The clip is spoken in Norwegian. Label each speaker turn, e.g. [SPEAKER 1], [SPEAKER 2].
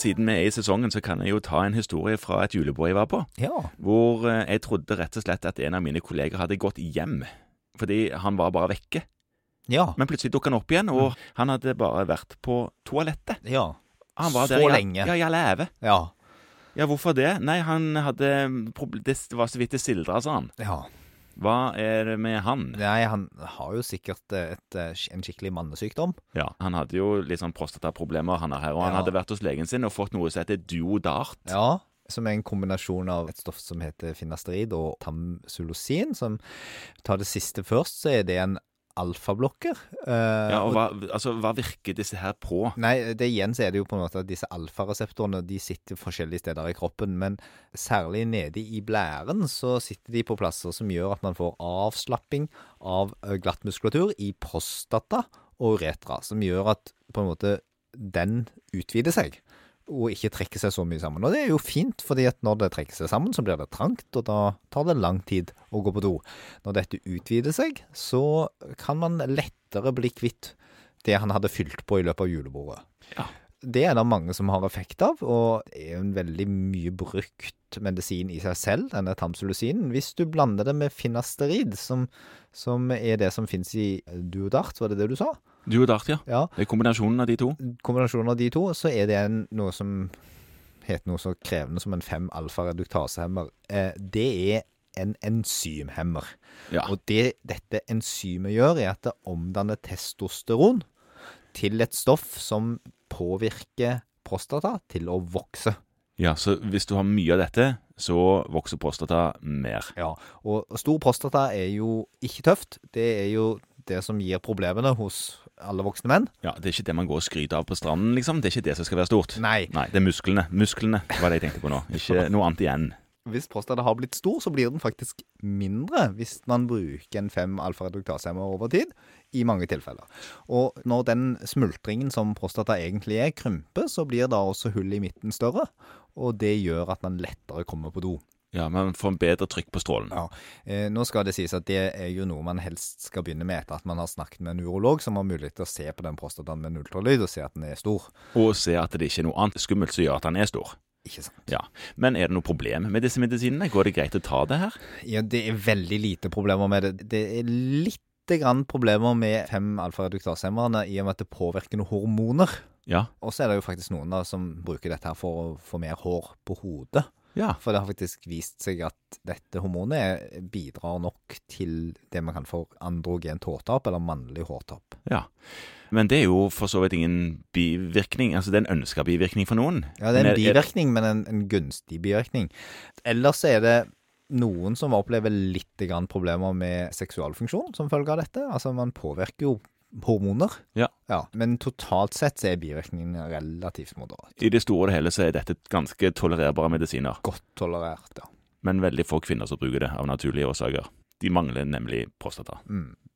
[SPEAKER 1] Siden vi er i sesongen, så kan jeg jo ta en historie fra et julebord jeg var på.
[SPEAKER 2] Ja.
[SPEAKER 1] Hvor eh, jeg trodde rett og slett at en av mine kolleger hadde gått hjem. Fordi han var bare vekke.
[SPEAKER 2] Ja.
[SPEAKER 1] Men plutselig dukka han opp igjen, og
[SPEAKER 2] Mm.
[SPEAKER 1] han hadde bare vært på toalettet.
[SPEAKER 2] Ja.
[SPEAKER 1] Han var
[SPEAKER 2] Så
[SPEAKER 1] der, i-
[SPEAKER 2] lenge.
[SPEAKER 1] Ja, i all æve.
[SPEAKER 2] Ja.
[SPEAKER 1] Ja, hvorfor det? Nei, han hadde mm, proble- Det var så vidt det sildra, sa han.
[SPEAKER 2] ja.
[SPEAKER 1] Hva er det med han?
[SPEAKER 2] Nei, han har jo sikkert eh, et, eh, sk- en skikkelig mannesykdom.
[SPEAKER 1] Ja, Han hadde jo litt sånn prostataproblemer, han her, og han
[SPEAKER 2] Ja.
[SPEAKER 1] hadde vært hos legen sin og fått noe som heter duodart.
[SPEAKER 2] Ja. Som er en kombinasjon av et stoff som heter finasterid og tamsulosin. Som tar det siste først, så er det en alfablokker. eh,
[SPEAKER 1] Ja, og hva, altså, hva virker disse her på?
[SPEAKER 2] Nei, det igjen så er det jo på en måte at disse alfareseptorene de sitter forskjellige steder i kroppen, men særlig nede i blæren så sitter de på plasser som gjør at man får avslapping av eh, glatt muskulatur i prostata og uretra, som gjør at på en måte den utvider seg og ikke trekker seg så mye sammen. Og det er jo fint, fordi at når det trekker seg sammen, så blir det trangt, og da tar det lang tid å gå på do. Når dette utvider seg, så kan man lettere bli kvitt det han hadde fylt på i løpet av julebordet.
[SPEAKER 1] Ja.
[SPEAKER 2] Det er det mange som har effekt av, og det er jo en veldig mye brukt medisin i seg selv, denne tamsulusinen. Hvis du blander det med finasterid, som, som er det som finnes i duodart, var det det du sa?
[SPEAKER 1] Duodart, ja.
[SPEAKER 2] Ja.
[SPEAKER 1] Det er kombinasjonen av de to.
[SPEAKER 2] kombinasjonen av de to, så er det en, noe som heter noe så krevende som en 5-alfa-reduktasehemmer. Eh, det er en enzymhemmer.
[SPEAKER 1] Ja.
[SPEAKER 2] Og det dette enzymet gjør, er at det omdanner testosteron til et stoff som påvirker prostata til å vokse.
[SPEAKER 1] ja, så hvis du har mye av dette, så vokser prostata mer.
[SPEAKER 2] Ja, og stor prostata er jo ikke tøft. Det er jo det som gir problemene hos alle voksne menn.
[SPEAKER 1] Ja, Det er ikke det man går og skryter av på stranden, liksom. Det er ikke det som skal være stort.
[SPEAKER 2] Nei,
[SPEAKER 1] Nei, det er musklene. Musklene var det jeg tenkte på nå. Ikke noe annet igjen.
[SPEAKER 2] hvis prostata har blitt stor, så blir den faktisk mindre hvis man bruker en 5-alfa-reduktasehemmer over tid, i mange tilfeller. Og når den smultringen som prostata egentlig er, krymper, så blir da også hullet i midten større, og det gjør at man lettere kommer på do.
[SPEAKER 1] Ja, Man får en bedre trykk på strålen.
[SPEAKER 2] Ja, eh, Nå skal det sies at det er jo noe man helst skal begynne med etter at man har snakket med en urolog som har mulighet til å se på den prostataen med en ultralyd og se at den er stor.
[SPEAKER 1] Og se at det ikke er noe annet skummelt som gjør at han er stor.
[SPEAKER 2] Ikke sant?
[SPEAKER 1] Ja, Men er det noe problem med disse medisinene? Går det greit å ta det her?
[SPEAKER 2] Ja, det er veldig lite problemer med det. Det er lite grann problemer med 5-alfa-reduktasehemmerne i og med at det påvirker noen hormoner.
[SPEAKER 1] Ja.
[SPEAKER 2] Og så er det jo faktisk noen da som bruker dette her for å få mer hår på hodet.
[SPEAKER 1] Ja.
[SPEAKER 2] For det har faktisk vist seg at dette hormonet bidrar nok til det man kan for androgen hårtap, eller mannlig hårtap.
[SPEAKER 1] ja. Men det er jo for så vidt ingen bivirkning. Altså, det er en ønska bivirkning for noen.
[SPEAKER 2] Ja, det er
[SPEAKER 1] Men
[SPEAKER 2] en bivirkning, men en, en gunstig bivirkning. Ellers er det noen som opplever litt grann problemer med seksualfunksjon som følge av dette. Altså, man påvirker jo hormoner.
[SPEAKER 1] Ja.
[SPEAKER 2] Men totalt sett så er bivirkningene relativt moderat.
[SPEAKER 1] I det store og hele så er dette ganske tolererbare medisiner.
[SPEAKER 2] Godt tolerert, ja.
[SPEAKER 1] men veldig få kvinner som bruker det av naturlige årsaker. De mangler nemlig prostata.
[SPEAKER 2] Mm.